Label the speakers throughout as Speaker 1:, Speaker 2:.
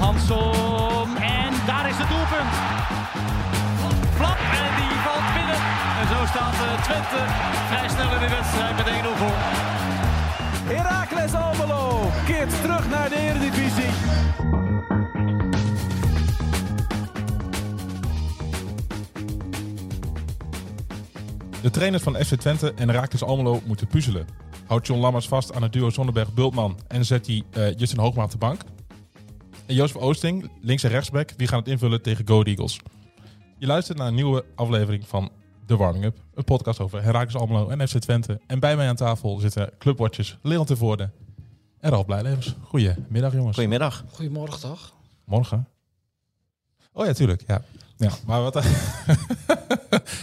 Speaker 1: Jansson. En daar is het doelpunt. Flap en die valt binnen. En zo staat eh, Twente vrij snel in de wedstrijd met 1-0 voor.
Speaker 2: Heracles Almelo keert terug naar de Eredivisie.
Speaker 3: De trainers van FC Twente en Raakles Almelo moeten puzzelen. Houdt John Lammers vast aan het duo Zonneberg-Bultman en zet hij eh, Justin Hoogma op de bank? En Jozef Oosting, links- en rechtsback, die gaan het invullen tegen Go Eagles. Je luistert naar een nieuwe aflevering van The Warming Up. Een podcast over Heracles Almelo en FC Twente. En bij mij aan tafel zitten clubwatchers Leon Tevoorde en Ralf Blijlevens. Goedemiddag jongens.
Speaker 4: Goedemiddag.
Speaker 5: Goedemorgen toch?
Speaker 3: Morgen. Oh ja, tuurlijk. Ja. Ja, maar wat,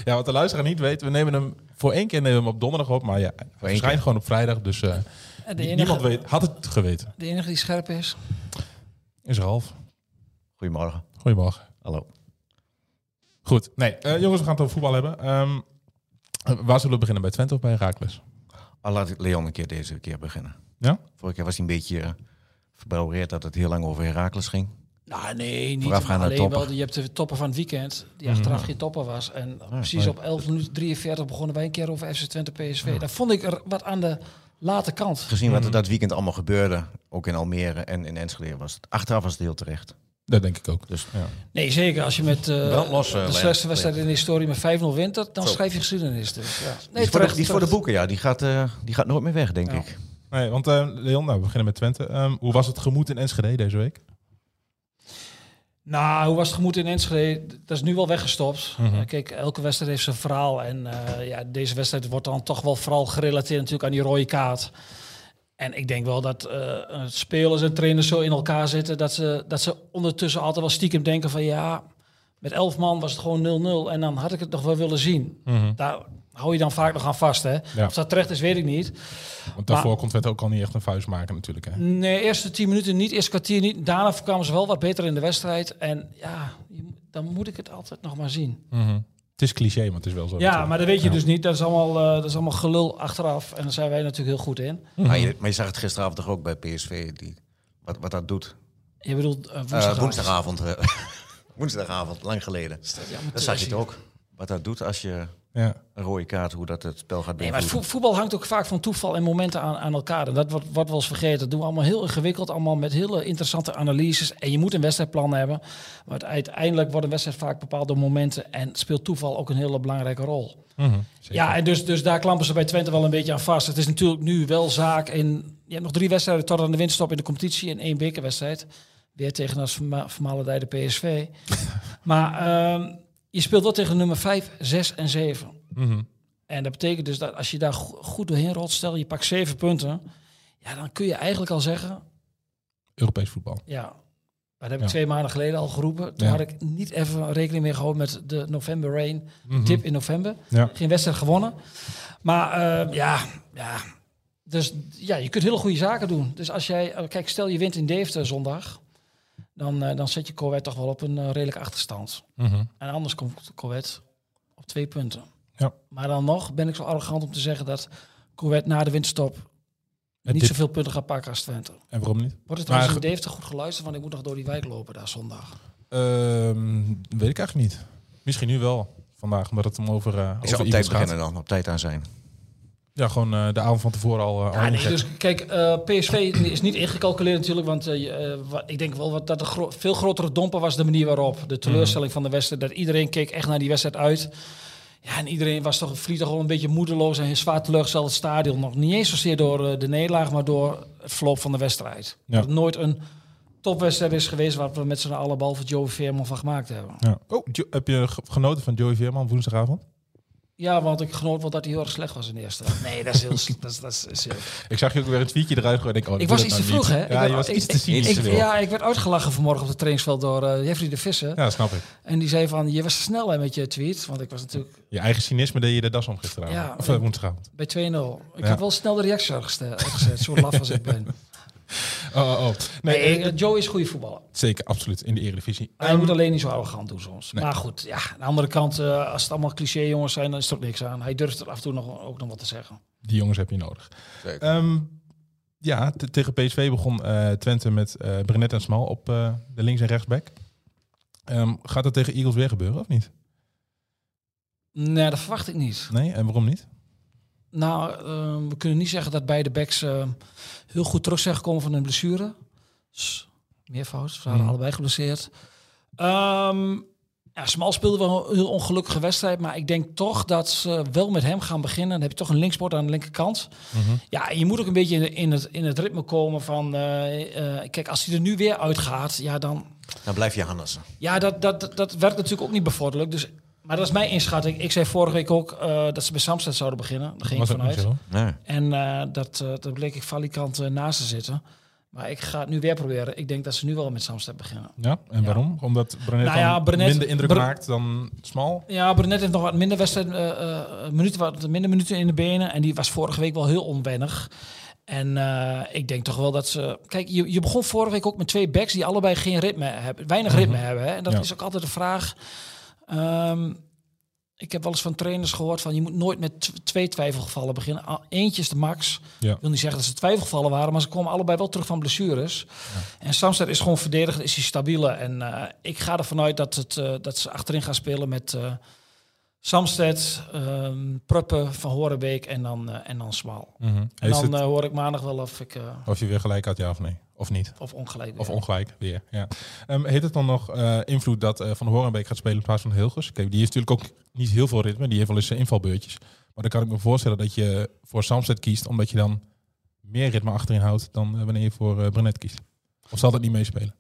Speaker 3: ja, wat de luisteraar niet weet, we nemen hem voor één keer nemen we hem op donderdag op, maar ja, hij verschijnt gewoon op vrijdag, dus eh,
Speaker 5: En de,
Speaker 3: nie-
Speaker 5: enige,
Speaker 3: niemand weet, had het geweten.
Speaker 5: de enige die scherp is.
Speaker 3: Is Ralf.
Speaker 4: Goedemorgen.
Speaker 3: Goedemorgen.
Speaker 4: Hallo.
Speaker 3: Goed, nee, eh, jongens, we gaan het over voetbal hebben. Ehm, eh, waar zullen we beginnen, bij Twente of bij Raakles?
Speaker 4: Al Oh, laat ik Leon een keer deze keer beginnen.
Speaker 3: Ja?
Speaker 4: Vorige keer was hij een beetje eh, verbouwereerd dat het heel lang over Herakles ging.
Speaker 5: Nou nee, niet.
Speaker 4: Voorafgaand aan de
Speaker 5: Alleen
Speaker 4: toppen.
Speaker 5: wel, je hebt de toppen van het weekend, die achteraf geen topper was. En precies op 11 minuten 43 begonnen wij een keer over FC Twente PSV. Dat vond ik er wat aan de late kant.
Speaker 4: Gezien wat er
Speaker 3: Mhm.
Speaker 4: dat weekend allemaal gebeurde, ook in Almere en in Enschede, was het achteraf was het heel terecht.
Speaker 3: Dat denk ik ook.
Speaker 4: Dus-
Speaker 3: ja.
Speaker 5: Nee, zeker. Als je met eh,
Speaker 4: Brandlos, eh,
Speaker 5: de
Speaker 4: Lennart.
Speaker 5: slechtste wedstrijd in de historie met 5-0 wint, dat- dan
Speaker 4: Zo.
Speaker 5: schrijf je geschiedenis. Dus, ja. nee,
Speaker 4: die is, voor de,
Speaker 5: terecht,
Speaker 4: die is voor de
Speaker 5: terecht.
Speaker 4: boeken, ja. Die gaat, eh, die gaat nooit meer weg, denk
Speaker 5: Ja.
Speaker 4: ik.
Speaker 3: Nee, want eh, Leon, nou, we beginnen met Twente. Ehm, hoe was het gemoed in Enschede deze week?
Speaker 5: Nou, hoe was het gemoed in Enschede? Dat is nu wel weggestopt. Eh, Kijk, elke wedstrijd heeft zijn verhaal. En eh, ja, deze wedstrijd wordt dan toch wel vooral gerelateerd natuurlijk aan die rode kaart. En ik denk wel dat eh, eh, spelers en trainers zo in elkaar zitten... Dat ze, dat ze ondertussen altijd wel stiekem denken van... ja, met elf man was het gewoon 0-0 en dan had ik het nog wel willen zien. Daar hou je dan vaak nog aan vast, hè?
Speaker 3: Ja.
Speaker 5: Of dat terecht is, weet ik niet.
Speaker 3: Want daarvoor
Speaker 5: Maar- Mm.
Speaker 3: kon Twente ook al niet echt een vuist maken natuurlijk. Hè?
Speaker 5: Nee, eerste tien minuten niet, eerste kwartier niet. Daarna kwamen ze wel wat beter in de wedstrijd. En ja, je moet- dan moet ik het altijd nog maar zien.
Speaker 3: Mhm. Het is cliché, maar het is wel zo.
Speaker 5: Ja, maar dat weet je
Speaker 3: Ja.
Speaker 5: dus niet. Dat is, allemaal, eh, dat is allemaal gelul achteraf. En daar zijn wij natuurlijk heel goed in.
Speaker 3: Mhm.
Speaker 4: Maar, je, maar je zag het gisteravond toch ook bij PSV, die, wat, wat dat doet.
Speaker 5: Je bedoelt eh,
Speaker 4: Eh,
Speaker 5: woensdagavond.
Speaker 4: woensdagavond. eh, woensdagavond, lang geleden.
Speaker 5: Amateur
Speaker 4: Dat zag je
Speaker 5: zie
Speaker 4: het ook. Wat dat doet als je
Speaker 3: Ja.
Speaker 4: een rode kaart, hoe dat het spel gaat
Speaker 5: Nee, maar
Speaker 4: beïnvloeden.
Speaker 5: voet- voetbal hangt ook vaak van toeval en momenten aan, aan elkaar. En dat wordt, wordt wel eens vergeten. Dat doen we allemaal heel ingewikkeld, allemaal met hele interessante analyses. En je moet een wedstrijdplan hebben. Maar uiteindelijk wordt een wedstrijd vaak bepaald door momenten. En speelt toeval ook een hele belangrijke rol.
Speaker 3: Mhm, zeker.
Speaker 5: Ja, en dus, dus daar klampen ze bij Twente wel een beetje aan vast. Het is natuurlijk nu wel zaak. En je hebt nog drie wedstrijden tot aan de winststop in de competitie en één bekerwedstrijd. Weer tegen als vermalendijde PSV. maar ehm, je speelt wel tegen nummer 5, 6 en 7.
Speaker 3: Mhm.
Speaker 5: En dat betekent dus dat als je daar go- goed doorheen rolt, stel je pakt zeven punten. Ja, dan kun je eigenlijk al zeggen,
Speaker 3: Europees voetbal.
Speaker 5: ja, dat heb ik
Speaker 3: Ja.
Speaker 5: twee maanden geleden al geroepen. Toen
Speaker 3: Ja.
Speaker 5: had ik niet even rekening mee gehouden met de November Rain
Speaker 3: Mhm.
Speaker 5: tip in november.
Speaker 3: Ja.
Speaker 5: Geen wedstrijd gewonnen. Maar eh, ja, ja. Dus ja, je kunt hele goede zaken doen. Dus als jij, eh, kijk, stel je wint in Deventer zondag, dan, eh, dan zet je Corvette toch wel op een eh, redelijke achterstand.
Speaker 3: Mhm.
Speaker 5: En anders komt Corvette op twee punten.
Speaker 3: Ja.
Speaker 5: Maar dan nog ben ik zo arrogant om te zeggen dat Corvette na de winterstop
Speaker 3: En,
Speaker 5: niet
Speaker 3: dit-
Speaker 5: zoveel punten gaat pakken als Twente.
Speaker 3: en waarom niet?
Speaker 5: Wordt het
Speaker 3: Maar
Speaker 5: trouwens in
Speaker 3: ge-
Speaker 5: Deventer goed geluisterd, want ik moet nog door die wijk lopen daar zondag.
Speaker 3: Ehm, weet ik eigenlijk niet. Misschien nu wel. Vandaag, omdat het om over, eh
Speaker 4: Ik
Speaker 3: over
Speaker 4: zou op
Speaker 3: Eagles
Speaker 4: tijd
Speaker 3: gaat.
Speaker 4: beginnen dan, op tijd aan zijn.
Speaker 3: Ja, gewoon eh, de avond van tevoren al. eh, al
Speaker 5: Ja, nee,
Speaker 3: ingezet.
Speaker 5: dus kijk, eh, PSV is niet ingecalculeerd natuurlijk, want eh, je, eh, wa- ik denk wel wat, dat de gro- veel grotere domper was de manier waarop. De teleurstelling van de wedstrijd, dat iedereen keek echt naar die wedstrijd uit. Ja, en iedereen was toch vliegtuig al een beetje moedeloos en zwaar teleurgesteld het stadion. Nog niet eens zozeer door eh, de nederlaag, maar door het verloop van de wedstrijd.
Speaker 3: Ja.
Speaker 5: Dat het nooit een topwedstrijd is geweest waar we met z'n allen behalve Joe Veerman van gemaakt hebben.
Speaker 3: ja. Oh, Jo- heb je ge- genoten van Joey Veerman woensdagavond?
Speaker 5: Ja, want ik genoot wel dat hij heel erg slecht was in de eerste. Nee, dat is heel... s- dat is, dat is, is heel-
Speaker 3: Ik zag je ook weer een tweetje eruit gooien. en Ik, oh,
Speaker 5: Ik
Speaker 3: doe
Speaker 5: was
Speaker 3: dat
Speaker 5: iets te
Speaker 3: nou
Speaker 5: vroeg,
Speaker 3: niet.
Speaker 5: hè? Ik
Speaker 3: Ja,
Speaker 5: was-
Speaker 3: je was
Speaker 5: ik-
Speaker 3: iets te
Speaker 5: ik-
Speaker 3: cynisch.
Speaker 5: Ik,
Speaker 3: te veel.
Speaker 5: ja, ik werd uitgelachen vanmorgen op het trainingsveld door eh Jeffrey de Visser.
Speaker 3: Ja, snap ik.
Speaker 5: En die zei van, je was te snel hè, met je tweet. Want ik was natuurlijk
Speaker 3: Je eigen cynisme deed je de das om gisteravond.
Speaker 5: Ja.
Speaker 3: of eh, woensdagavond.
Speaker 5: bij 2-0. Ik
Speaker 3: Ja.
Speaker 5: had wel snel de reactie uitgeste- uitgezet, zo laf als ik ben.
Speaker 3: Oh, oh, oh. Nee,
Speaker 5: Nee, Ah,
Speaker 3: eh,
Speaker 5: eh, Joe is goede voetballer.
Speaker 3: zeker, absoluut. In de Eredivisie.
Speaker 5: Hij
Speaker 3: Ehm,
Speaker 5: moet alleen niet zo arrogant doen soms.
Speaker 3: Nee.
Speaker 5: Maar goed, ja, aan de andere kant, eh, als het allemaal cliché jongens zijn, dan is er ook niks aan. Hij durft er af en toe nog, ook nog wat te zeggen.
Speaker 3: die jongens heb je nodig.
Speaker 4: Zeker.
Speaker 3: Ehm, Ja, te- tegen PSV begon eh, Twente met eh Brenet en Smal op eh, de links- en rechtsback. Ehm, gaat dat tegen Eagles weer gebeuren of niet?
Speaker 5: Nee, dat verwacht ik niet.
Speaker 3: Nee, en waarom niet?
Speaker 5: Nou, ehm, we kunnen niet zeggen dat beide backs ehm, heel goed terug zijn gekomen van hun blessure. Dus meer fout, ze waren
Speaker 3: Hmm.
Speaker 5: allebei geblesseerd. Ehm ja, Smal speelde wel een heel ongelukkige wedstrijd, maar ik denk toch dat ze wel met hem gaan beginnen. Dan heb je toch een linksbord aan de linkerkant. Ja, en je moet ook een beetje in, de- in, het, in het ritme komen van... eh, eh, kijk, als hij er nu weer uitgaat, ja, dan,
Speaker 4: Dan blijf je Hannes.
Speaker 5: ja, dat, dat, dat, dat werkt natuurlijk ook niet bevorderlijk. Dus, maar dat is mijn inschatting. Ik zei vorige week ook eh, dat ze bij Samsted zouden beginnen. Daar ging ik
Speaker 3: Was ook niet
Speaker 5: vanuit.
Speaker 3: zo.
Speaker 4: Nee.
Speaker 5: En eh, dat, eh dat bleek ik valikant eh, naast te zitten. Maar ik ga het nu weer proberen. Ik denk dat ze nu wel met Samsted beginnen.
Speaker 3: Ja, en
Speaker 5: Ja.
Speaker 3: waarom? Omdat Brenet,
Speaker 5: Nou ja,
Speaker 3: dan
Speaker 5: Brenet-
Speaker 3: minder indruk
Speaker 5: Bre-
Speaker 3: maakt dan Smal.
Speaker 5: Ja, Brunet heeft nog wat minder wedstrijden, eh, eh, minuten, wat minder minuten in de benen. En die was vorige week wel heel onwennig. En eh, ik denk toch wel dat ze. Kijk, je, je begon vorige week ook met twee backs die allebei geen ritme hebben, weinig ritme hebben. Hè? En dat
Speaker 3: Mhm. Ja.
Speaker 5: is ook altijd de vraag. Ehm, ik heb wel eens van trainers gehoord van je moet nooit met tw- twee twijfelgevallen beginnen. Al- Eentje is de max.
Speaker 3: Ja.
Speaker 5: Ik wil niet zeggen dat ze twijfelgevallen waren, maar ze komen allebei wel terug van blessures. En Samster is gewoon verdedigd, is hij stabieler. En eh, ik ga ervan uit dat, het, eh, dat ze achterin gaan spelen met eh Samsted, ehm, Pruppen, Van Horenbeek en dan, eh, en dan Smal.
Speaker 3: Mhm.
Speaker 5: En
Speaker 3: Is
Speaker 5: dan
Speaker 3: het-
Speaker 5: eh, hoor ik maandag wel of ik eh,
Speaker 3: Of je weer gelijk had, ja of nee? Of niet?
Speaker 5: of ongelijk
Speaker 3: Of
Speaker 5: ben.
Speaker 3: ongelijk weer, ja. Ehm, heeft het dan nog eh, invloed dat eh, Van Horenbeek gaat spelen in plaats van Hilgers? Kijk, die heeft natuurlijk ook niet heel veel ritme. Die heeft wel eens zijn invalbeurtjes. Maar dan kan ik me voorstellen dat je voor Samsted kiest... omdat je dan meer ritme achterin houdt dan eh, wanneer je voor eh Brenet kiest. Of zal dat niet meespelen?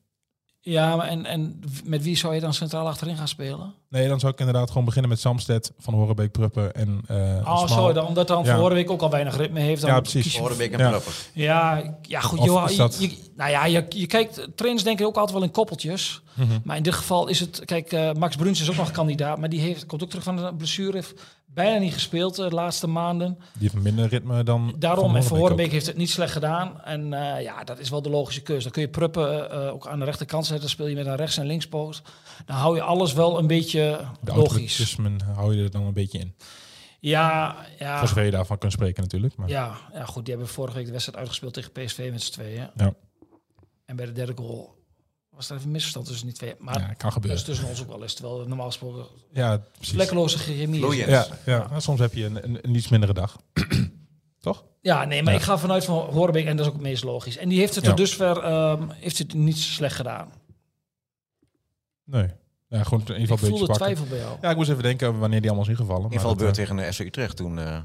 Speaker 5: Ja, maar en, en w- met wie zou je dan centraal achterin gaan spelen?
Speaker 3: Nee, dan zou ik inderdaad gewoon beginnen met Samsted, Van Horenbeek, Pruppen en eh
Speaker 5: Oh,
Speaker 3: Smal.
Speaker 5: zo, dan, omdat dan
Speaker 3: Ja.
Speaker 5: Van Horenbeek ook al weinig ritme heeft. Dan
Speaker 3: Ja, precies.
Speaker 5: kies je-
Speaker 4: Horen en
Speaker 3: Ja.
Speaker 4: Pruppen.
Speaker 5: Ja, ja goed.
Speaker 3: Of
Speaker 5: joh,
Speaker 3: is
Speaker 5: je-
Speaker 3: dat-
Speaker 5: je, nou ja, je, je kijkt, trainers denken ook altijd wel in koppeltjes.
Speaker 3: Mhm.
Speaker 5: Maar in dit geval is het, kijk, eh, Max Bruns is ook nog kandidaat, maar die heeft, komt ook terug van een blessure, heeft bijna niet gespeeld eh, de laatste maanden.
Speaker 3: Die heeft minder ritme dan
Speaker 5: Daarom, en Van
Speaker 3: Horenbeek ook.
Speaker 5: Horenbeek heeft het niet slecht gedaan. En eh, ja, dat is wel de logische keuze. Dan kun je Pruppen eh, ook aan de rechterkant zetten, dan speel je met een rechts- en linkspoot. Dan hou je alles wel een beetje
Speaker 3: De
Speaker 5: logisch.
Speaker 3: automatismen hou je er dan een beetje in.
Speaker 5: Ja, ja.
Speaker 3: Voor zover je daarvan kunt spreken natuurlijk. Maar,
Speaker 5: Ah. Ja, ja, goed. Die hebben vorige week de wedstrijd uitgespeeld tegen PSV met z'n tweeën.
Speaker 3: Ja.
Speaker 5: En bij de derde goal was er even een misverstand tussen die twee.
Speaker 3: Ja,
Speaker 5: Maar
Speaker 3: kan
Speaker 5: dat is
Speaker 3: gebeuren.
Speaker 5: tussen ons ook wel eens. Terwijl normaal gesproken
Speaker 3: Ja, precies.
Speaker 5: vlekkeloze geremis.
Speaker 4: Vloeiend.
Speaker 5: is.
Speaker 3: Ja, ja. maar soms heb je een, een, een iets mindere dag. Toch?
Speaker 5: Ja, nee, maar
Speaker 3: Ja.
Speaker 5: ik ga vanuit van Horbeek en dat is ook het meest logisch. En die heeft het
Speaker 3: Ja.
Speaker 5: er dusver ehm, heeft het niet slecht gedaan.
Speaker 3: Nee. Ja, gewoon een
Speaker 5: Ik
Speaker 3: invalbeurtje
Speaker 5: voelde
Speaker 3: pakken.
Speaker 5: twijfel bij jou.
Speaker 3: Ja, ik moest even denken wanneer die allemaal is ingevallen. maar dat,
Speaker 4: Invalbeurt
Speaker 3: eh,
Speaker 4: tegen de SC Utrecht toen. eh,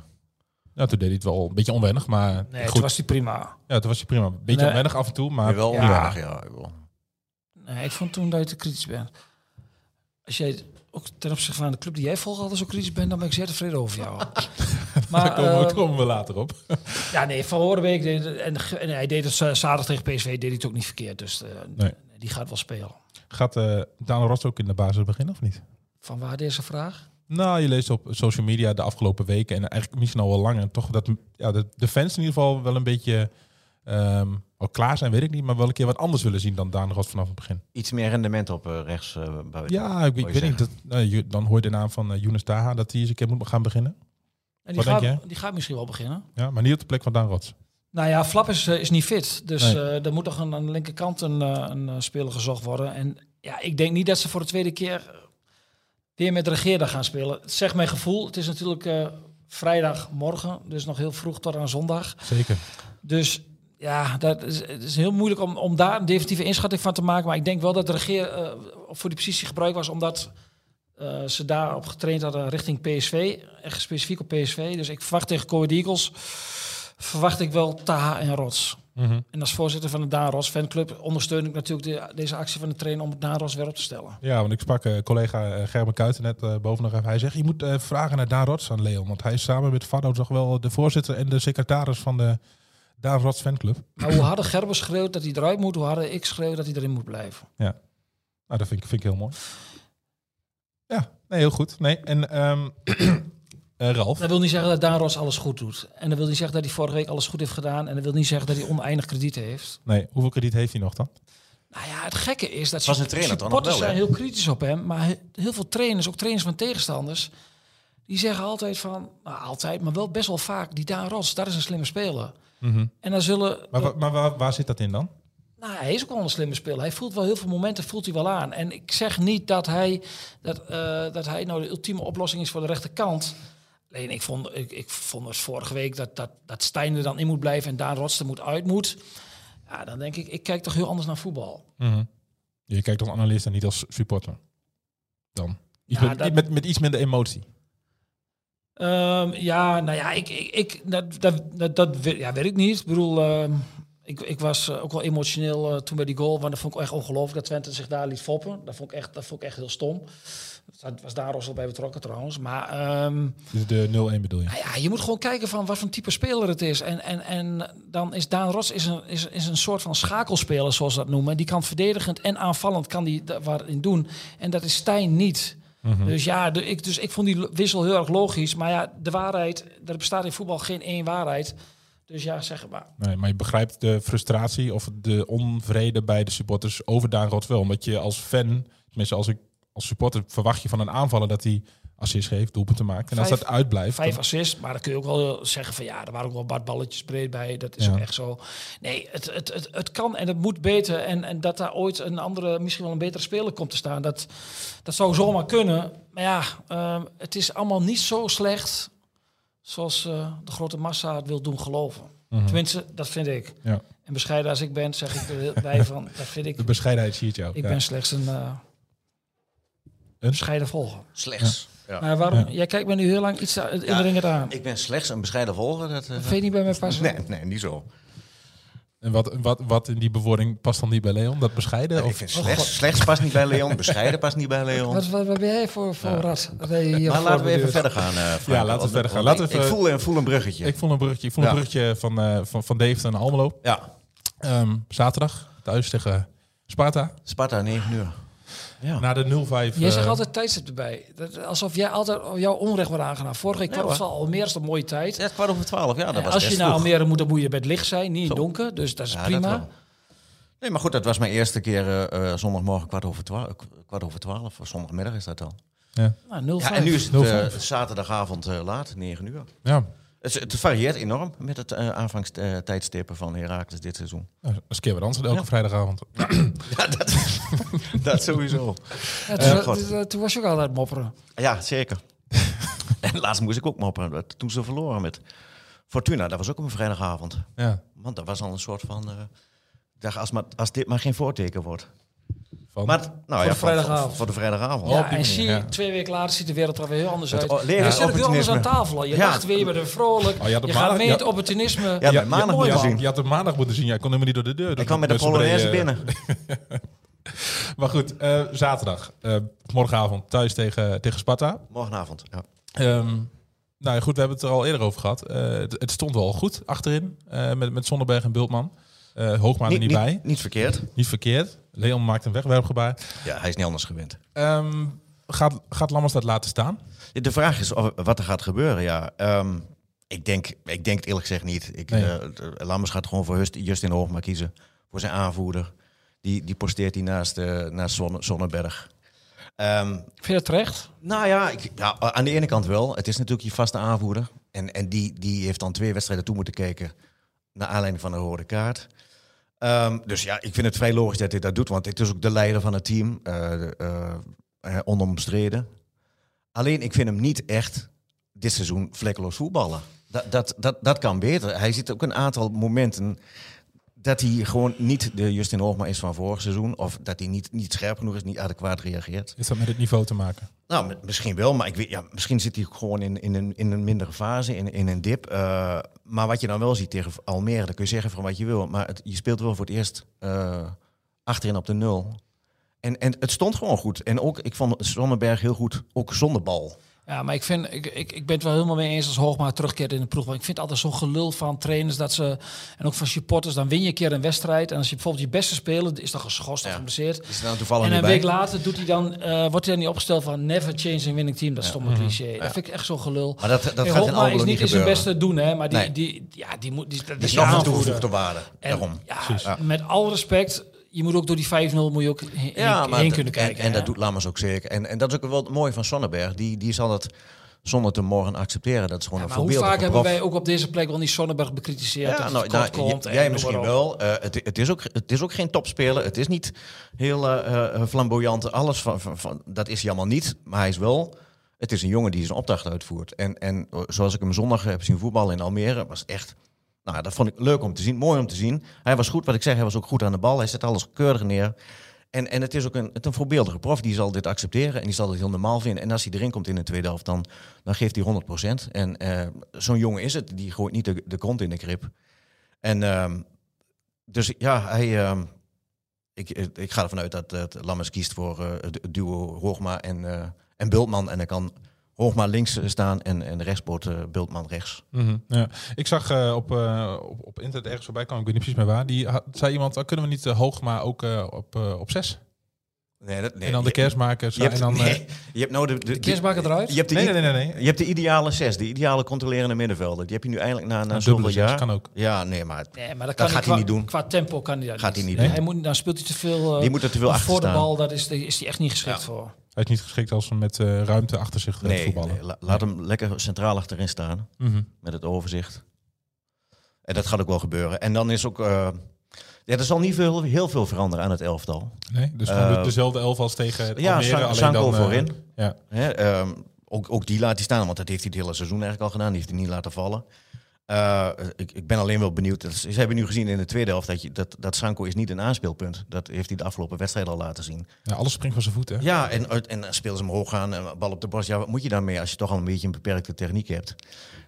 Speaker 3: nou, toen deed hij het wel een beetje onwennig, maar
Speaker 5: Nee,
Speaker 3: goed.
Speaker 5: toen was die prima.
Speaker 3: Ja, toen was hij prima. Beetje
Speaker 5: Nee.
Speaker 3: onwennig af en toe, maar...
Speaker 4: wel
Speaker 5: ja.
Speaker 4: onwaardig, ja. jawel.
Speaker 5: Nee, ik vond toen dat je te kritisch bent. Als jij ook ten opzichte van de club die jij volgt altijd zo kritisch bent, dan ben ik zeer tevreden over jou. maar,
Speaker 3: Daar komen, we-
Speaker 5: ehm,
Speaker 3: komen we later op.
Speaker 5: Ja, nee, Van Horenbeek deed het- en, ge- en hij deed het za- zaterdag tegen PSV, deed hij het ook niet verkeerd. Dus eh,
Speaker 3: Nee.
Speaker 5: die gaat wel spelen.
Speaker 3: Gaat eh Daan Rost ook in de basis beginnen of niet?
Speaker 5: Van waar deze vraag?
Speaker 3: Nou, je leest op social media de afgelopen weken en eigenlijk misschien al wel langer toch dat ja, de, de fans in ieder geval wel een beetje ehm, al klaar zijn, weet ik niet, maar wel een keer wat anders willen zien dan Daan Rost vanaf het begin.
Speaker 4: Iets meer rendement op eh, rechts eh, buiten.
Speaker 3: Ja, ik, ik weet
Speaker 4: je
Speaker 3: niet.
Speaker 4: zeggen.
Speaker 3: Dat, nou, je- dan hoor je de naam van eh Younes Taha dat hij eens een keer moet gaan beginnen.
Speaker 5: En die,
Speaker 3: Wat
Speaker 5: gaat,
Speaker 3: denk
Speaker 5: die gaat misschien wel beginnen.
Speaker 3: Ja, maar niet op de plek van Daan Rots.
Speaker 5: Nou ja, Flap is, eh, is niet fit. Dus
Speaker 3: Nee.
Speaker 5: eh, er moet toch een, aan de linkerkant een, eh, een eh, speler gezocht worden. En ja, ik denk niet dat ze voor de tweede keer eh, weer met regeerder gaan spelen. Het zegt mijn gevoel. Het is natuurlijk eh, vrijdagmorgen, dus nog heel vroeg tot aan zondag.
Speaker 3: Zeker.
Speaker 5: Dus ja, dat is, het is heel moeilijk om, om daar een definitieve inschatting van te maken. Maar ik denk wel dat de regeer eh, voor die positie gebruik was, omdat eh, ze daarop getraind hadden richting PSV. Echt specifiek op PSV. Dus ik verwacht tegen Coed Eagles, verwacht ik wel Taha en Rots. En als voorzitter van de Daan Rots fanclub ondersteun ik natuurlijk de- deze actie van de trainer om het Daan Rots weer op te stellen.
Speaker 3: Ja, want ik sprak eh, collega eh, Gerben Kuiten net eh, boven nog even. Hij zegt, je moet eh, vragen naar Daan Rots aan Leon. Want hij is samen met Fado toch wel de voorzitter en de secretaris van de Daan Rots fanclub.
Speaker 5: Maar hoe harder Gerber schreeuwt dat hij eruit moet, hoe harder ik schreeuw dat hij erin moet blijven.
Speaker 3: Nou, dat vind ik, vind ik heel mooi. Ja, nee, heel goed. Nee, en ehm eh, Ralf.
Speaker 5: Dat wil niet zeggen dat Daan Ros alles goed doet. En dat wil niet zeggen dat hij vorige week alles goed heeft gedaan. En dat wil niet zeggen dat hij oneindig krediet heeft.
Speaker 3: Nee, hoeveel krediet heeft hij nog dan?
Speaker 5: Nou ja, het gekke is dat
Speaker 4: Was
Speaker 5: sup-
Speaker 4: een trainer toch nog
Speaker 5: supporters
Speaker 4: wel,
Speaker 5: zijn
Speaker 4: hè?
Speaker 5: heel kritisch op hem. Maar he- heel veel trainers, ook trainers van tegenstanders... Die zeggen altijd van, nou, altijd, maar wel best wel vaak, die Daan Rots, dat is een slimme speler.
Speaker 3: Mhm.
Speaker 5: En dan zullen...
Speaker 3: Maar, wa- maar waar, waar zit dat in dan?
Speaker 5: Nou, hij is ook wel een slimme speler. Hij voelt wel heel veel momenten, voelt hij wel aan. En ik zeg niet dat hij, dat, eh, dat hij nou de ultieme oplossing is voor de rechterkant. Alleen ik vond, ik, ik vond dus vorige week dat, dat, dat Stijn er dan in moet blijven en Daan Rots er moet uit moet. Ja, dan denk ik, ik kijk toch heel anders naar voetbal.
Speaker 3: Mhm. Je kijkt als analist en niet als supporter. Dan. Iets
Speaker 5: Ja,
Speaker 3: met,
Speaker 5: Nou, dat-
Speaker 3: met, met iets minder emotie.
Speaker 5: Ehm, ja, nou ja, ik, ik, ik, dat, dat, dat, dat we- ja, weet ik niet. Ik bedoel, ehm, ik, ik was eh, ook wel emotioneel eh, toen bij die goal. Want dat vond ik echt ongelooflijk dat Twente zich daar liet foppen. Dat vond ik echt, dat vond ik echt heel stom. Dat was daar al bij betrokken trouwens. Maar ehm,
Speaker 3: Dus de 0-1 bedoel je.
Speaker 5: nou ja, je moet gewoon kijken van wat voor type speler het is. En, en, en dan is Daan Ros is een, is, is een soort van schakelspeler, zoals ze dat noemen. Die kan verdedigend en aanvallend kan die da- waarin doen. En dat is Stijn niet. Dus ja, de- ik, dus ik vond die lo- wissel heel erg logisch. Maar ja, de waarheid, er bestaat in voetbal geen één waarheid. Dus ja, zeg maar.
Speaker 3: Nee, maar je begrijpt de frustratie of de onvrede bij de supporters over Daan Rots wel. Omdat je als fan, tenminste als, ik, als supporter, verwacht je van een aanvaller dat hij assist geeft, doelpunten maakt. En als
Speaker 5: Vijf-
Speaker 3: dat uitblijft...
Speaker 5: Vijf
Speaker 3: dan-
Speaker 5: assist, maar dan kun je ook wel zeggen van ja, er waren ook wel badballetjes breed bij. Dat is
Speaker 3: Ja.
Speaker 5: ook echt zo. Nee, het, het, het, het kan en het moet beter. En, en dat daar ooit een andere, misschien wel een betere speler komt te staan, dat, dat zou zomaar kunnen. Maar ja, ehm, het is allemaal niet zo slecht zoals eh, de grote massa het wil doen geloven.
Speaker 3: Mhm.
Speaker 5: Tenminste, dat vind ik.
Speaker 3: Ja.
Speaker 5: En bescheiden als ik ben, zeg ik er heel bij van, dat vind ik.
Speaker 3: de bescheidenheid zie jou.
Speaker 5: Ik
Speaker 3: Ja.
Speaker 5: ben slechts een, eh
Speaker 3: Een?
Speaker 5: bescheiden volger.
Speaker 4: Slechts. Ja.
Speaker 5: Maar waarom?
Speaker 3: Ja.
Speaker 5: Jij kijkt me nu heel lang iets aan- indringend aan.
Speaker 4: Ik ben slechts een bescheiden volger. Dat, eh,
Speaker 5: Vind je niet bij mij passen?
Speaker 4: nee, nee, niet zo.
Speaker 3: En wat, wat, wat in die bewoording past dan niet bij Leon? Dat bescheiden?
Speaker 4: ik
Speaker 3: Of,
Speaker 4: vind slechts, slechts past niet bij Leon, bescheiden past niet bij Leon.
Speaker 5: Wat, wat, wat ben jij voor, voor rat? dat je hier
Speaker 4: maar laten we even
Speaker 5: voorbeduurt?
Speaker 4: verder gaan. eh, Frank.
Speaker 3: laten we
Speaker 4: Want-
Speaker 3: verder gaan.
Speaker 4: want
Speaker 3: Laten we
Speaker 4: ik, ik
Speaker 3: even-
Speaker 4: voel, en voel een bruggetje.
Speaker 3: ik vond een bruggetje, ik vond een
Speaker 4: Ja.
Speaker 3: bruggetje van, eh van, van Deventer naar Almelo.
Speaker 4: ja,
Speaker 3: Ehm, zaterdag thuis tegen Sparta.
Speaker 4: Sparta, 9 uur. Ja.
Speaker 3: Na de 0-5.
Speaker 5: Jij
Speaker 3: eh,
Speaker 5: zegt altijd tijdstip erbij. Dat, alsof jij altijd jouw onrecht wordt aangedaan. Vorige week
Speaker 4: Nee,
Speaker 5: kwam het
Speaker 4: hoor.
Speaker 5: al Almere is een mooie tijd.
Speaker 4: Ja, kwart over twaalf, ja, dat
Speaker 5: En
Speaker 4: was
Speaker 5: als
Speaker 4: best
Speaker 5: je naar
Speaker 4: vroeg.
Speaker 5: Almere moet, dan moet je bij het licht zijn, niet in het
Speaker 4: Zo.
Speaker 5: donker. Dus dat is
Speaker 4: Ja, dat
Speaker 5: prima.
Speaker 4: wel. Nee, maar goed, dat was mijn eerste keer eh, eh, zondagmorgen kwart over, twa- eh, kwart over twaalf. Of zondagmiddag is dat al.
Speaker 5: Nou, 0-5.
Speaker 4: Ja, en nu is het
Speaker 3: Nul
Speaker 4: eh,
Speaker 3: vijf.
Speaker 4: zaterdagavond eh, laat, 9 uur.
Speaker 3: ja,
Speaker 4: Het, het varieert enorm met het eh aanvangstijdstippen van Heracles dit seizoen.
Speaker 3: nou, dat is keer wat anders dan elke
Speaker 4: Ja.
Speaker 3: vrijdagavond.
Speaker 4: Ja, dat, dat sowieso.
Speaker 5: Ja, toen,
Speaker 4: Eh, God.
Speaker 5: toen- toen was je ook altijd mopperen.
Speaker 4: Ja, zeker. en laatst moest ik ook mopperen dat- toen ze verloren met Fortuna. Dat was ook op een vrijdagavond.
Speaker 3: Ja,
Speaker 4: Want dat was al een soort van... eh, dag, als, maar, als dit maar geen voorteken wordt.
Speaker 3: van,
Speaker 4: Maar, nou ja,
Speaker 5: de
Speaker 4: van-
Speaker 5: vrijdagavond.
Speaker 4: Voor, voor de vrijdagavond.
Speaker 5: ja,
Speaker 3: die
Speaker 5: en
Speaker 3: manier,
Speaker 5: zie je,
Speaker 3: ja.
Speaker 5: twee weken later ziet de wereld er weer heel anders
Speaker 4: Het
Speaker 5: uit.
Speaker 4: o-
Speaker 5: Je
Speaker 4: leren
Speaker 5: zit ook heel anders
Speaker 4: opportunisme.
Speaker 5: aan tafel. Je
Speaker 4: Ja.
Speaker 5: lacht weer, je bent er vrolijk.
Speaker 3: Oh, je had
Speaker 5: je
Speaker 3: op
Speaker 5: gaat
Speaker 3: maandag-
Speaker 5: mee in het
Speaker 3: ja.
Speaker 5: opportunisme.
Speaker 4: Ja,
Speaker 3: Ja,
Speaker 4: maandag
Speaker 5: mooi
Speaker 3: Ja,
Speaker 4: moet je
Speaker 5: man.
Speaker 4: zien.
Speaker 3: je had hem maandag moeten zien. Ja, ik kon helemaal niet door de deur.
Speaker 4: Ik kwam met de
Speaker 3: Polonaise
Speaker 4: Polonaise binnen.
Speaker 3: Maar goed, eh, zaterdag. eh, morgenavond thuis tegen, tegen Sparta.
Speaker 4: Morgenavond. Ja.
Speaker 3: Ehm, nou ja, goed, we hebben het er al eerder over gehad. Eh, het, het stond wel goed achterin eh, met, met Zonderberg en Bultman. Eh Hoogma er niet, bij.
Speaker 4: niet verkeerd.
Speaker 3: Niet verkeerd. Leon maakt een wegwerpgebaar.
Speaker 4: Ja, hij is niet anders gewend.
Speaker 3: Ehm, gaat, gaat Lammers dat laten staan?
Speaker 4: De vraag is of- wat er gaat gebeuren, ja. Ehm, ik, denk, ik denk het eerlijk gezegd niet. Ik,
Speaker 3: Nee.
Speaker 4: eh, de- Lammers gaat gewoon voor Hust- Justin Hoogma kiezen. Voor zijn aanvoerder. Die, die posteert hij naast, eh, naast Zonne- Zonneberg. Ehm,
Speaker 5: Vind je dat terecht?
Speaker 4: nou ja, ik, ja, aan de ene kant wel. Het is natuurlijk je vaste aanvoerder. En, en die, die heeft dan twee wedstrijden toe moeten kijken. Naar aanleiding van een rode kaart. Ehm, dus ja, ik vind het vrij logisch dat hij dat doet. Want het is ook de leider van het team. eh, eh, eh, onomstreden. Alleen ik vind hem niet echt dit seizoen vlekkeloos voetballen. Dat, dat, dat, dat kan beter. Hij ziet ook een aantal momenten dat hij gewoon niet de Justin Hoogma is van vorig seizoen. Of dat hij niet, niet scherp genoeg is, niet adequaat reageert.
Speaker 3: Is dat met het niveau te maken?
Speaker 4: Nou, mi- misschien wel, maar ik weet, ja, misschien zit hij ook gewoon in, in, een, in een mindere fase, in, in een dip. Eh, maar wat je dan wel ziet tegen Almere, dan kun je zeggen van wat je wil. Maar het- je speelt wel voor het eerst eh, achterin op de nul. En, en het stond gewoon goed. En ook, ik vond Zonneberg heel goed, ook zonder bal.
Speaker 5: Ja, maar ik, vind, ik, ik, ik ben het wel helemaal mee eens als Hoogma terugkeert in de ploeg. Want ik vind altijd zo'n gelul van trainers dat ze, en ook van supporters, dan win je een keer een wedstrijd. En als je bijvoorbeeld je beste speler is dan geschorst of
Speaker 4: Ja.
Speaker 5: geblesseerd.
Speaker 4: Is er dan toevallig
Speaker 5: En
Speaker 4: niet
Speaker 5: een
Speaker 4: bij?
Speaker 5: week later doet hij dan, eh, wordt hij dan niet opgesteld van never change a winning team. Dat is stomme cliché. Dat vind ik echt zo'n gelul.
Speaker 4: Mhm. Maar dat, dat
Speaker 5: En
Speaker 4: gaat in
Speaker 5: Hoogma
Speaker 4: Almelo
Speaker 5: is
Speaker 4: niet
Speaker 5: niet in zijn
Speaker 4: gebeuren.
Speaker 5: beste doen, hè, maar die,
Speaker 4: Nee.
Speaker 5: die, ja, die moet... Die, dat
Speaker 4: Dat is
Speaker 5: je
Speaker 4: nog een
Speaker 5: aanvoerder.
Speaker 4: toegevoegde waarde.
Speaker 5: En
Speaker 4: Daarom.
Speaker 5: ja,
Speaker 3: Precies. Ja.
Speaker 5: Met alle respect, je moet ook door die 5-0 moet je ook heen, heen
Speaker 4: dat-
Speaker 5: kunnen kijken.
Speaker 4: En, en dat
Speaker 5: hè.
Speaker 4: doet Lammers ook zeker. En, en dat is ook wel het mooie van Sonnenberg. Die, die zal dat zonder te morgen accepteren. Dat is gewoon
Speaker 5: Ja,
Speaker 4: een
Speaker 5: maar hoe
Speaker 4: voorbeeldige
Speaker 5: vaak hebben
Speaker 4: prof.
Speaker 5: wij ook op deze plek wel niet Sonnenberg bekritiseerd?
Speaker 4: Ja,
Speaker 5: dat
Speaker 4: nou,
Speaker 5: het
Speaker 4: nou,
Speaker 5: tekort komt
Speaker 4: j-
Speaker 5: en
Speaker 4: jij
Speaker 5: noem
Speaker 4: misschien
Speaker 5: maar op.
Speaker 4: wel. Eh, het, het, is ook, het is ook geen topspeler. Het is niet heel eh, eh, flamboyant. Alles van, van, van- dat is hij allemaal niet. Maar hij is wel. Het is een jongen die zijn opdracht uitvoert. En, en eh, zoals ik hem zondag heb zien voetballen in Almere, was echt. Nou, dat vond ik leuk om te zien, mooi om te zien. Hij was goed, wat ik zeg, hij was ook goed aan de bal. Hij zet alles keurig neer. En, en het is ook een, het een voorbeeldige prof. Die zal dit accepteren en die zal dit heel normaal vinden. En als hij erin komt in de tweede helft, dan, dan geeft hij 100%. En eh, zo'n jongen is het. Die gooit niet de, de kont in de krip. En ehm, dus ja, hij, ehm, ik, ik ga ervan uit dat, dat Lammers kiest voor eh, het duo Hoogma en, eh, en Bultman. En dan kan Hoogma links eh, staan en, en rechtsboot eh, Bultman rechts.
Speaker 3: Mhm, ja. Ik zag eh, op, eh, op, op internet ergens voorbij komen, ik weet niet precies meer waar. Die had- zei iemand, "Ah, kunnen we niet hoog, maar ook eh, op, eh, op zes?
Speaker 4: Nee, dat, nee.
Speaker 3: en dan de kerstmakers.
Speaker 4: Je hebt,
Speaker 3: en dan, eh,
Speaker 4: nee, je hebt nou de, de,
Speaker 5: Kersmaker eruit?
Speaker 4: Je hebt de,
Speaker 3: nee, nee, nee. nee, nee.
Speaker 4: Je hebt de ideale zes, de ideale controlerende middenvelder. Die heb je nu eindelijk na, na
Speaker 3: Een
Speaker 4: zoveel
Speaker 3: dubbele
Speaker 4: jaar.
Speaker 3: zes kan ook.
Speaker 4: Ja, nee, maar het-
Speaker 5: Nee, maar dat,
Speaker 4: Dat
Speaker 5: kan
Speaker 4: gaat
Speaker 5: qua,
Speaker 4: hij niet doen.
Speaker 5: Qua tempo kan hij dat
Speaker 4: Gaat hij niet
Speaker 5: Nee,
Speaker 4: doen.
Speaker 5: Hij moet, dan speelt hij te veel. eh,
Speaker 4: Die moet er te veel achter
Speaker 5: Voor de
Speaker 4: staan.
Speaker 5: bal, daar is, die- is hij echt niet geschikt
Speaker 4: Ja.
Speaker 5: voor.
Speaker 3: Hij is niet geschikt als ze met eh, ruimte achter zich eh,
Speaker 4: nee,
Speaker 3: voetballen.
Speaker 4: nee, la- laat hem lekker centraal achterin staan.
Speaker 3: Mhm.
Speaker 4: met het overzicht. En dat gaat ook wel gebeuren. En dan is ook. eh, ja, er zal niet veel, heel veel veranderen aan het elftal.
Speaker 3: Nee, dus gewoon de-
Speaker 4: Eh,
Speaker 3: dezelfde elf als tegen het
Speaker 4: ja,
Speaker 3: Almere,
Speaker 4: San-
Speaker 3: alleen
Speaker 4: Sanko
Speaker 3: dan, eh,
Speaker 4: voorin.
Speaker 3: Ja.
Speaker 4: Hè, ehm, ook, ook die laat hij staan, want dat heeft hij het hele seizoen eigenlijk al gedaan. Die heeft hij niet laten vallen. Eh, ik, ik ben alleen wel benieuwd. dat Ze ze hebben nu gezien in de tweede helft dat, je, dat, dat Sanko is niet een aanspeelpunt. Dat heeft hij de afgelopen wedstrijd al laten zien.
Speaker 3: Ja, alles springt van zijn voeten. hè?
Speaker 4: Ja, en, uit- en eh, speel ze hem hoog aan en bal op de borst. Ja, wat moet je daarmee als je toch al een beetje een beperkte techniek hebt?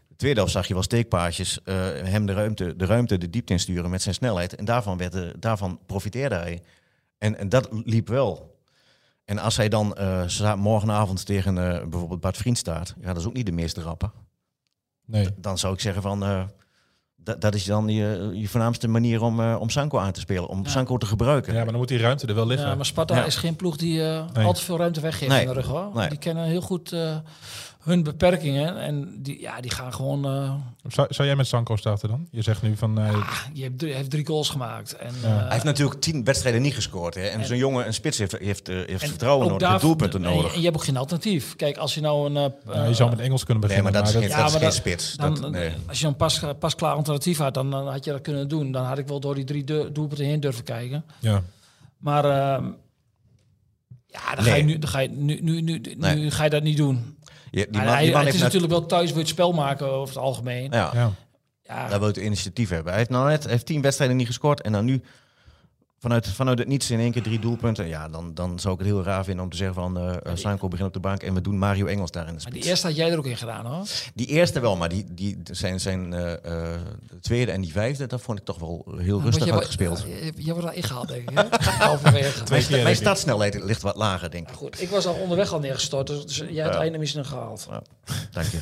Speaker 4: De tweede helft zag je wel steekpaasjes. eh, hem de ruimte, de ruimte de diepte insturen met zijn snelheid. En daarvan, werd, de- daarvan profiteerde hij. En, en dat liep wel. En als hij dan eh, za- morgenavond tegen eh, bijvoorbeeld Bart Vriend staat... Ja, dat is ook niet de meest rappe.
Speaker 3: Nee.
Speaker 4: Dan zou ik zeggen van... eh, dat, dat is dan je, je voornaamste manier om, eh, om Sanko aan te spelen. Om Sanko te gebruiken.
Speaker 3: ja, maar dan moet die ruimte er wel liggen.
Speaker 5: Ja, maar Sparta
Speaker 4: Ja.
Speaker 5: is geen ploeg die eh,
Speaker 3: Nee.
Speaker 5: al te veel ruimte weggeeft
Speaker 4: Nee.
Speaker 5: in de rug. Hoor.
Speaker 4: Nee.
Speaker 5: Die kennen heel goed eh, hun beperkingen. En die, ja, die gaan gewoon... eh, ah,
Speaker 3: zou, zou jij met Sanko starten dan? Je zegt nu van...
Speaker 4: Ah,
Speaker 3: eh,
Speaker 5: je hebt drie, hij heeft drie goals gemaakt. En,
Speaker 3: Ja.
Speaker 5: eh,
Speaker 4: Hij heeft natuurlijk tien wedstrijden niet gescoord. Hè? En, zo'n jongen, een spits, heeft, heeft, eh, heeft
Speaker 5: en
Speaker 4: vertrouwen
Speaker 5: ook
Speaker 4: nodig, heeft
Speaker 5: daar-
Speaker 4: doelpunten
Speaker 5: en je-
Speaker 4: nodig.
Speaker 5: En je hebt ook geen alternatief. Kijk, als je nou een... eh,
Speaker 3: nou, je zou met Engels kunnen
Speaker 4: Nee,
Speaker 3: beginnen.
Speaker 4: maar dat is geen,
Speaker 5: ja,
Speaker 4: dat is
Speaker 5: maar
Speaker 4: geen
Speaker 5: dat-
Speaker 4: spits.
Speaker 5: Dan, eh,
Speaker 4: dat, nee.
Speaker 5: Als je een pas, pasklaar alternatief had, dan, dan had je dat kunnen doen. Dan had ik wel door die drie deur- doelpunten heen durven kijken.
Speaker 3: Ja.
Speaker 5: Maar ehm, ja, dan ga je,
Speaker 4: Nee.
Speaker 5: nu, dan ga je nu, nu, nu, nu
Speaker 4: Nee.
Speaker 5: ga je dat niet doen.
Speaker 4: Ja, die
Speaker 5: Maar
Speaker 4: man,
Speaker 5: hij,
Speaker 4: die man
Speaker 5: het
Speaker 4: heeft
Speaker 5: is
Speaker 4: nat-
Speaker 5: natuurlijk wel thuis wil je het spel maken over het algemeen.
Speaker 4: ja,
Speaker 3: Ja.
Speaker 5: Ja,
Speaker 4: Hij wil het initiatief hebben. Hij heeft, nou net, hij heeft tien wedstrijden niet gescoord. En dan nu vanuit, vanuit het niets in één keer drie doelpunten. Ja, dan, dan zou ik het heel raar vinden om te zeggen van... eh, eh Sanko begint op de bank en we doen Mario Engels daar in de
Speaker 5: maar
Speaker 4: spits.
Speaker 5: die eerste had jij er ook in gedaan hoor.
Speaker 4: Die eerste wel, maar die, die zijn, zijn eh, eh, de tweede en die vijfde... dat vond ik toch wel heel
Speaker 5: Want
Speaker 4: rustig
Speaker 5: jij
Speaker 4: uitgespeeld.
Speaker 5: wordt- Je, je wordt daar ingehaald denk ik. hè? Halverwege.
Speaker 3: Twee
Speaker 4: Mijn,
Speaker 3: keer,
Speaker 4: sta- mijn
Speaker 3: denk ik.
Speaker 4: startsnelheid ligt wat lager, denk ik.
Speaker 5: Goed, ik was al onderweg al neergestort, dus, dus jij hebt einde misschien gehaald.
Speaker 4: Dank je.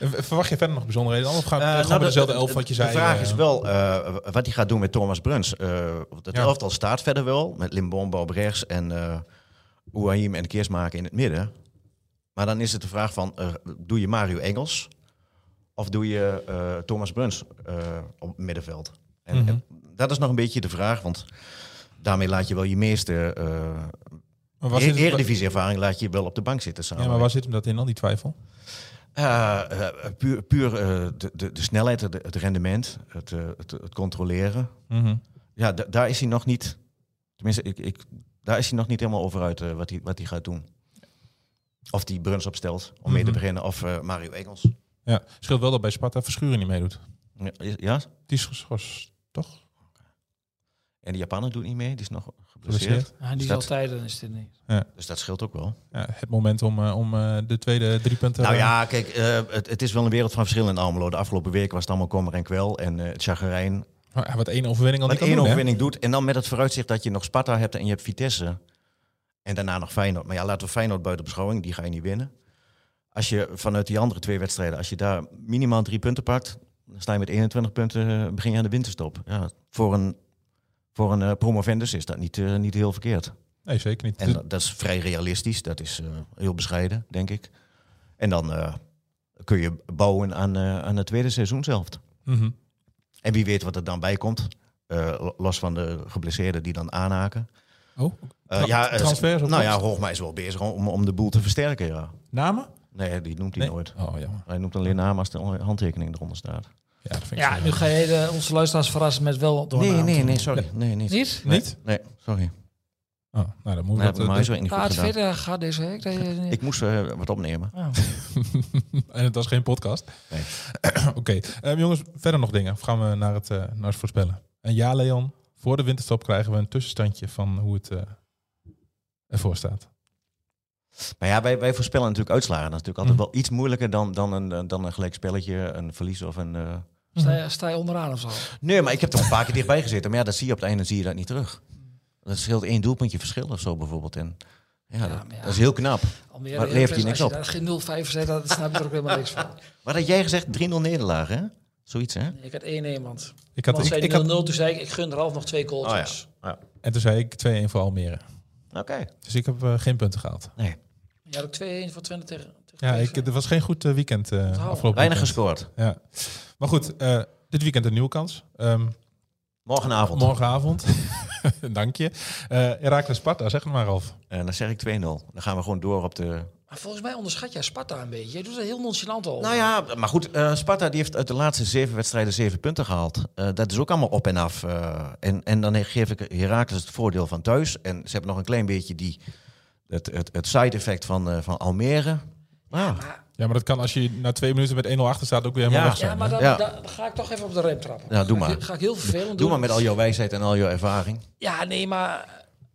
Speaker 3: En v- Verwacht je verder nog bijzonderheden? Anders gaan we
Speaker 4: Eh,
Speaker 3: gewoon
Speaker 4: nou,
Speaker 3: met dezelfde
Speaker 4: de-
Speaker 3: elf wat je
Speaker 4: de-
Speaker 3: zei.
Speaker 4: De vraag
Speaker 3: eh,
Speaker 4: is wel eh, wat hij gaat doen met Thomas Bruns. Eh, het
Speaker 3: Ja.
Speaker 4: elftal staat verder wel, met Limbombo op rechts en eh Ouahim en Keersmaker in het midden. Maar dan is het de vraag van, eh, doe je Mario Engels of doe je eh, Thomas Bruns eh, op het middenveld? En,
Speaker 3: Mhm.
Speaker 4: en dat is nog een beetje de vraag, want daarmee laat je wel je meeste eh
Speaker 3: maar waar zit het-
Speaker 4: eredivisie-ervaring laat je wel op de bank zitten samen.
Speaker 3: Ja, maar waar zit hem dat in dan, die twijfel?
Speaker 4: Eh, eh, puur puur eh, de, de, de snelheid, het, het rendement, het, eh, het, het controleren.
Speaker 3: Mhm.
Speaker 4: Ja, da- daar is hij nog niet. Tenminste, ik, ik, daar is hij nog niet helemaal over uit eh, wat, hij, wat hij gaat doen. Of die Bruns opstelt om mee te
Speaker 3: Mhm.
Speaker 4: beginnen. Of eh, Mario Engels.
Speaker 3: Ja, scheelt wel dat bij Sparta Verschuren niet meedoet.
Speaker 4: Ja, is- Ja?
Speaker 3: Die is geschorst, toch?
Speaker 4: En de Japaner doet niet mee. Die is nog geblesseerd.
Speaker 3: Geblesseerd.
Speaker 5: Ja, Ah, die
Speaker 4: Dus
Speaker 5: is al
Speaker 4: dat-
Speaker 5: tijden, is dit niet.
Speaker 4: Dus dat scheelt ook wel.
Speaker 3: Ja, het moment om, eh, om eh, de tweede drie punten...
Speaker 4: Nou ja, kijk, eh, het, het is wel een wereld van verschil in Almelo. De afgelopen weken was het allemaal kommer en kwel. En eh, het chagrijn
Speaker 3: Maar Wat één overwinning al niet kan
Speaker 4: Wat één
Speaker 3: doen, hè?
Speaker 4: overwinning doet. En dan met het vooruitzicht dat je nog Sparta hebt en je hebt Vitesse. En daarna nog Feyenoord. Maar ja, laten we Feyenoord buiten beschouwing. Die ga je niet winnen. Als je vanuit die andere twee wedstrijden, als je daar minimaal drie punten pakt, dan sta je met 21 punten, eh, begin je aan de winterstop. Ja, voor een, voor een eh, promovendus is dat niet, eh, niet heel verkeerd.
Speaker 3: Nee, zeker niet.
Speaker 4: En dat, dat is vrij realistisch. Dat is eh, heel bescheiden, denk ik. En dan eh, kun je bouwen aan, eh, aan het tweede seizoen zelf.
Speaker 3: Mhm.
Speaker 4: En wie weet wat er dan bij komt. Eh, lo- los van de geblesseerden die dan aanhaken.
Speaker 3: Oh,
Speaker 4: Eh,
Speaker 3: Tra-
Speaker 4: ja, eh,
Speaker 3: transfer is ook
Speaker 4: nou
Speaker 3: vast.
Speaker 4: ja, Hoogma is wel bezig om, om de boel te versterken. Ja.
Speaker 3: namen?
Speaker 4: Nee, die noemt hij
Speaker 3: Nee?
Speaker 4: nooit.
Speaker 3: Oh, jammer.
Speaker 4: Hij noemt alleen naam als de handtekening eronder staat.
Speaker 3: Ja, dat vind ik
Speaker 5: Ja,
Speaker 3: zo-
Speaker 5: nu ga je de- onze luisteraars verrassen met wel door.
Speaker 4: Nee,
Speaker 5: naam
Speaker 4: nee,
Speaker 5: te
Speaker 4: nee,
Speaker 5: noemen.
Speaker 4: sorry. Nee, niet.
Speaker 5: Niet?
Speaker 4: Nee,
Speaker 3: Niet?
Speaker 4: Nee, sorry.
Speaker 3: Oh, nou, dan moet
Speaker 4: Nee,
Speaker 3: dat,
Speaker 4: heb ik mijn huiswerk niet
Speaker 5: Ah,
Speaker 4: goed
Speaker 5: het
Speaker 4: gedaan.
Speaker 5: verder gaat deze week. Dat je,
Speaker 4: Ik moest eh, wat opnemen.
Speaker 5: Oh.
Speaker 3: en het was geen podcast.
Speaker 4: Nee.
Speaker 3: Oké. Ehm, jongens, verder nog dingen. Of gaan we naar het, eh, naar het voorspellen? En ja, Leon, voor de winterstop krijgen we een tussenstandje van hoe het eh, ervoor staat.
Speaker 4: Maar ja, wij, wij voorspellen natuurlijk uitslagen. Dat is natuurlijk altijd wel iets moeilijker dan, dan, een, dan een gelijk spelletje, een verlies of een... eh,
Speaker 5: Sta, je, sta je onderaan of zo?
Speaker 4: Nee, maar ik heb er een paar keer dichtbij gezeten. Maar ja, dat zie je op het einde zie je dat niet terug. Dat scheelt één doelpuntje verschil of zo bijvoorbeeld. En ja, dat,
Speaker 5: maar ja.
Speaker 4: dat is heel knap.
Speaker 5: Almere
Speaker 4: Maar levert
Speaker 5: Heracles,
Speaker 4: hij niks
Speaker 5: eh, als
Speaker 4: op?
Speaker 5: je daar geen 0-5 zet, dan snap je er ook helemaal niks van.
Speaker 4: Wat had jij gezegd? 3-0 nederlaag, hè? Zoiets, hè?
Speaker 5: Ik had één iemand.
Speaker 3: Ik
Speaker 5: Want
Speaker 3: had, ik,
Speaker 5: zei 0-0,
Speaker 3: ik had,
Speaker 5: toen zei ik, Oh, ik gun Ralf nog twee goaltjes.
Speaker 3: en toen zei ik 2-1 voor Almere.
Speaker 4: Oké.
Speaker 3: Dus ik heb eh, geen punten gehaald.
Speaker 4: Nee,
Speaker 5: Je had ook 2-1 voor Twente tegen. tegen
Speaker 3: Ja, ik,
Speaker 5: Twente.
Speaker 3: het was geen goed eh, weekend eh, afgelopen weekend.
Speaker 4: weinig gescoord.
Speaker 3: Ja. Maar goed, eh, dit weekend een nieuwe kans. Ehm,
Speaker 4: Morgenavond.
Speaker 3: morgenavond. Dank je. Eh Herakles Sparta, zeg het maar Ralf.
Speaker 4: En Eh, dan zeg ik 2-0. Dan gaan we gewoon door op de...
Speaker 5: Maar volgens mij onderschat jij Sparta een beetje. Je doet er heel nonchalant over.
Speaker 4: Nou ja, maar goed. eh, Sparta die heeft uit de laatste zeven wedstrijden zeven punten gehaald. Eh, dat is ook allemaal op en af. eh. en, en dan geef ik Herakles het voordeel van thuis. En ze hebben nog een klein beetje die, het, het, het side-effect van, eh, van Almere. Ah.
Speaker 3: Ja, maar dat kan als je na twee minuten met 1-0 achter staat ook weer helemaal
Speaker 4: Ja.
Speaker 3: weg zijn.
Speaker 5: Ja, maar
Speaker 3: hè?
Speaker 5: dan,
Speaker 4: Ja.
Speaker 5: dan- dan ga ik toch even op de rem trappen.
Speaker 4: Ja, doe
Speaker 5: Ga ik-
Speaker 4: maar.
Speaker 5: Ga ik heel vervelend
Speaker 4: Doe
Speaker 5: doen.
Speaker 4: maar met al jouw wijsheid en al jouw ervaring.
Speaker 5: Ja, nee, maar...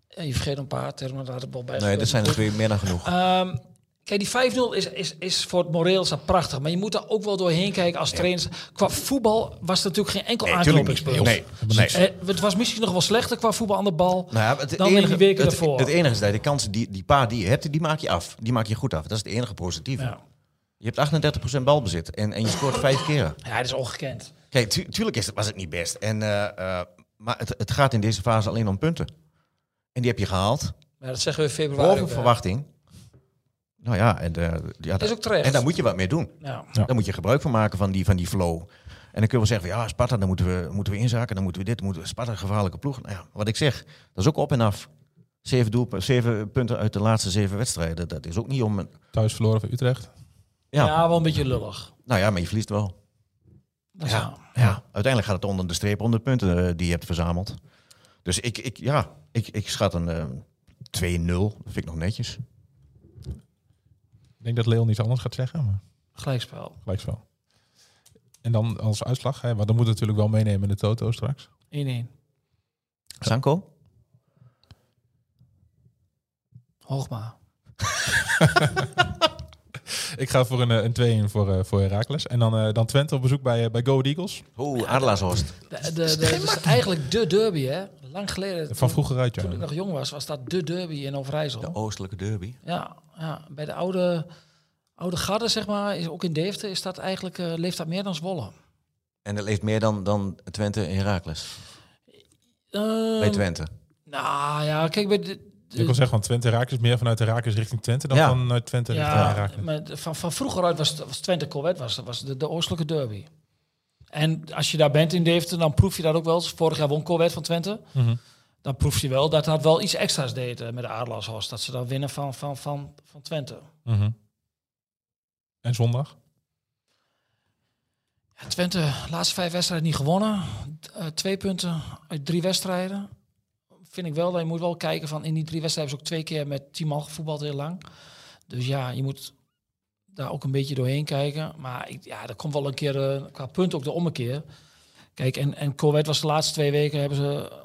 Speaker 5: eh, je vergeet een paar termen, daar had ik wel bij.
Speaker 4: Nee, dat zijn er twee meer dan genoeg.
Speaker 5: Ehm, kijk, die 5-0 is, is, is voor het moreel staat prachtig. Maar je moet daar ook wel doorheen kijken als trainers. Qua voetbal was er natuurlijk geen enkel aanknopingspunt.
Speaker 4: Nee,
Speaker 5: Eh, het was misschien nog wel slechter qua voetbal aan de bal.
Speaker 4: Nou ja, het,
Speaker 5: Dan
Speaker 4: enige,
Speaker 5: weer die weken
Speaker 4: het,
Speaker 5: ervoor.
Speaker 4: het enige is dat je de kansen, die, die paar die je hebt, die maak je af. Die maak je goed af. Dat is het enige positieve.
Speaker 5: Ja.
Speaker 4: Je hebt 38% balbezit en, en je scoort vijf keer.
Speaker 5: ja, dat is ongekend.
Speaker 4: Kijk, tu- tuurlijk is het, was het niet best. En, eh, eh, maar het, het gaat in deze fase alleen om punten. En die heb je gehaald.
Speaker 5: Maar dat zeggen we in februari.
Speaker 4: Boven
Speaker 5: ook, hè.
Speaker 4: verwachting. Nou ja, en, eh, ja,
Speaker 5: Dat is ook terecht.
Speaker 4: en daar moet je wat mee doen.
Speaker 5: Ja.
Speaker 3: Ja.
Speaker 4: Dan moet je gebruik van maken van die, van die flow. En dan kun je wel zeggen, van, ja, Sparta, dan moeten we, moeten we inzaken, dan moeten we dit, dan moeten we Sparta, gevaarlijke ploeg. Nou ja, wat ik zeg, dat is ook op en af. Zeven, doelp- zeven punten uit de laatste zeven wedstrijden, dat is ook niet om... een-
Speaker 3: Thuis verloren van Utrecht.
Speaker 4: Ja.
Speaker 5: Ja. wel een beetje lullig.
Speaker 4: Nou ja, maar je verliest wel.
Speaker 5: Dat is
Speaker 4: Ja,
Speaker 5: waar.
Speaker 4: ja. uiteindelijk gaat het onder de streep onder de punten eh, die je hebt verzameld. Dus ik, ik, ja, ik, ik schat een eh, 2-0, dat vind ik nog netjes.
Speaker 3: Ik denk dat Leon iets anders gaat zeggen, maar
Speaker 5: Gelijkspel.
Speaker 3: gelijk zo. En dan als uitslag, hè, want dan moet het natuurlijk wel meenemen in de toto straks.
Speaker 5: 1-1.
Speaker 4: Sanko?
Speaker 5: Hoogma.
Speaker 3: Ik ga voor een, eh, een 2-1 voor, eh, voor Herakles. En dan, eh, dan Twente op bezoek bij, eh, bij Go Ahead Eagles.
Speaker 4: Oeh, Adelaarshorst.
Speaker 5: De, de, de, dat is eigenlijk de derby, hè? Lang geleden,
Speaker 3: Van vroeger uit, ja.
Speaker 5: toen ik nog jong was, was dat de derby in Overijssel.
Speaker 4: De oostelijke derby.
Speaker 5: Ja, ja, bij de oude, oude garde, zeg maar, is, ook in Deventer, is dat eigenlijk, eh, leeft dat meer dan Zwolle.
Speaker 4: En dat leeft meer dan, dan Twente en Heracles.
Speaker 5: Eh,
Speaker 4: Bij Twente.
Speaker 5: Nou ja, kijk, bij de, de-
Speaker 3: Ik wil zeggen, van Twente Herakles meer vanuit Herakles richting Twente dan
Speaker 4: Ja.
Speaker 3: vanuit Twente richting
Speaker 5: ja,
Speaker 3: Herakles.
Speaker 5: maar de- van, van vroeger uit was, het- was Twente Corvette was, was de, de oostelijke derby. En als je daar bent in Deventer, dan proef je dat ook wel. eens. Vorig jaar won Corvette van Twente.
Speaker 3: Mhm.
Speaker 5: Dan proef je wel dat dat wel iets extra's deed eh, met de Adelaarshorst. Dat ze dan winnen van, van, van, van Twente.
Speaker 3: Mhm. En zondag?
Speaker 5: Ja, Twente, laatste vijf wedstrijden niet gewonnen. Eh, twee punten uit drie wedstrijden. Vind ik wel, dat je moet wel kijken van in die drie wedstrijden hebben ze ook twee keer met tien man gevoetbald heel lang. Dus ja, je moet daar ook een beetje doorheen kijken. Maar ik, ja, er komt wel een keer eh, qua punt ook de ommekeer. Kijk, en, en Corvette was de laatste twee weken hebben ze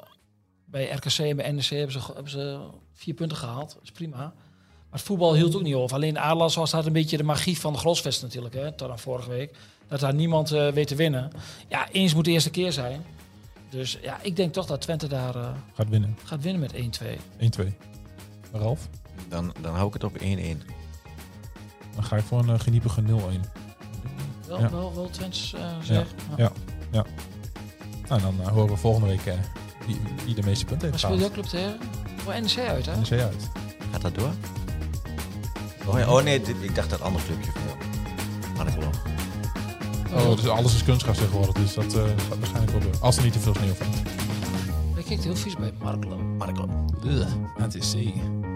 Speaker 5: bij RKC en bij NEC hebben ze, ge- hebben ze vier punten gehaald. Dat is prima. Maar het voetbal hield ook niet over. Alleen Adelaars was had een beetje de magie van de Grosvest natuurlijk, hè, tot aan vorige week dat daar niemand eh, weet te winnen. Ja, eens moet de eerste keer zijn. Dus ja, ik denk toch dat Twente daar eh,
Speaker 3: Gaat winnen.
Speaker 5: gaat winnen met 1-2.
Speaker 3: 1-2. Ralf?
Speaker 4: Dan, dan hou ik het op 1-1.
Speaker 3: Dan ga ik voor een eh, geniepige 0-1.
Speaker 5: Wel,
Speaker 3: Ja.
Speaker 5: wel, wel Twents eh zeg.
Speaker 3: ja. Nou, dan eh, horen we volgende week eh, wie, wie de meeste punten
Speaker 5: Maar
Speaker 3: heeft
Speaker 5: speel je
Speaker 3: gehaald.
Speaker 5: ook club tegen? Voor NEC uit, hè?
Speaker 3: En de uit.
Speaker 4: Gaat dat door? Oh, ja, oh nee, dit- ik dacht dat ander clubje van jou. Maar dat klopt.
Speaker 3: Oh, dus alles is kunstgras tegenwoordig, dus dat eh, gaat waarschijnlijk wel door. Als er niet te veel sneeuw valt.
Speaker 5: Hij kijkt heel vies bij Marklo.
Speaker 4: Maar dat klopt.
Speaker 3: Het is zee.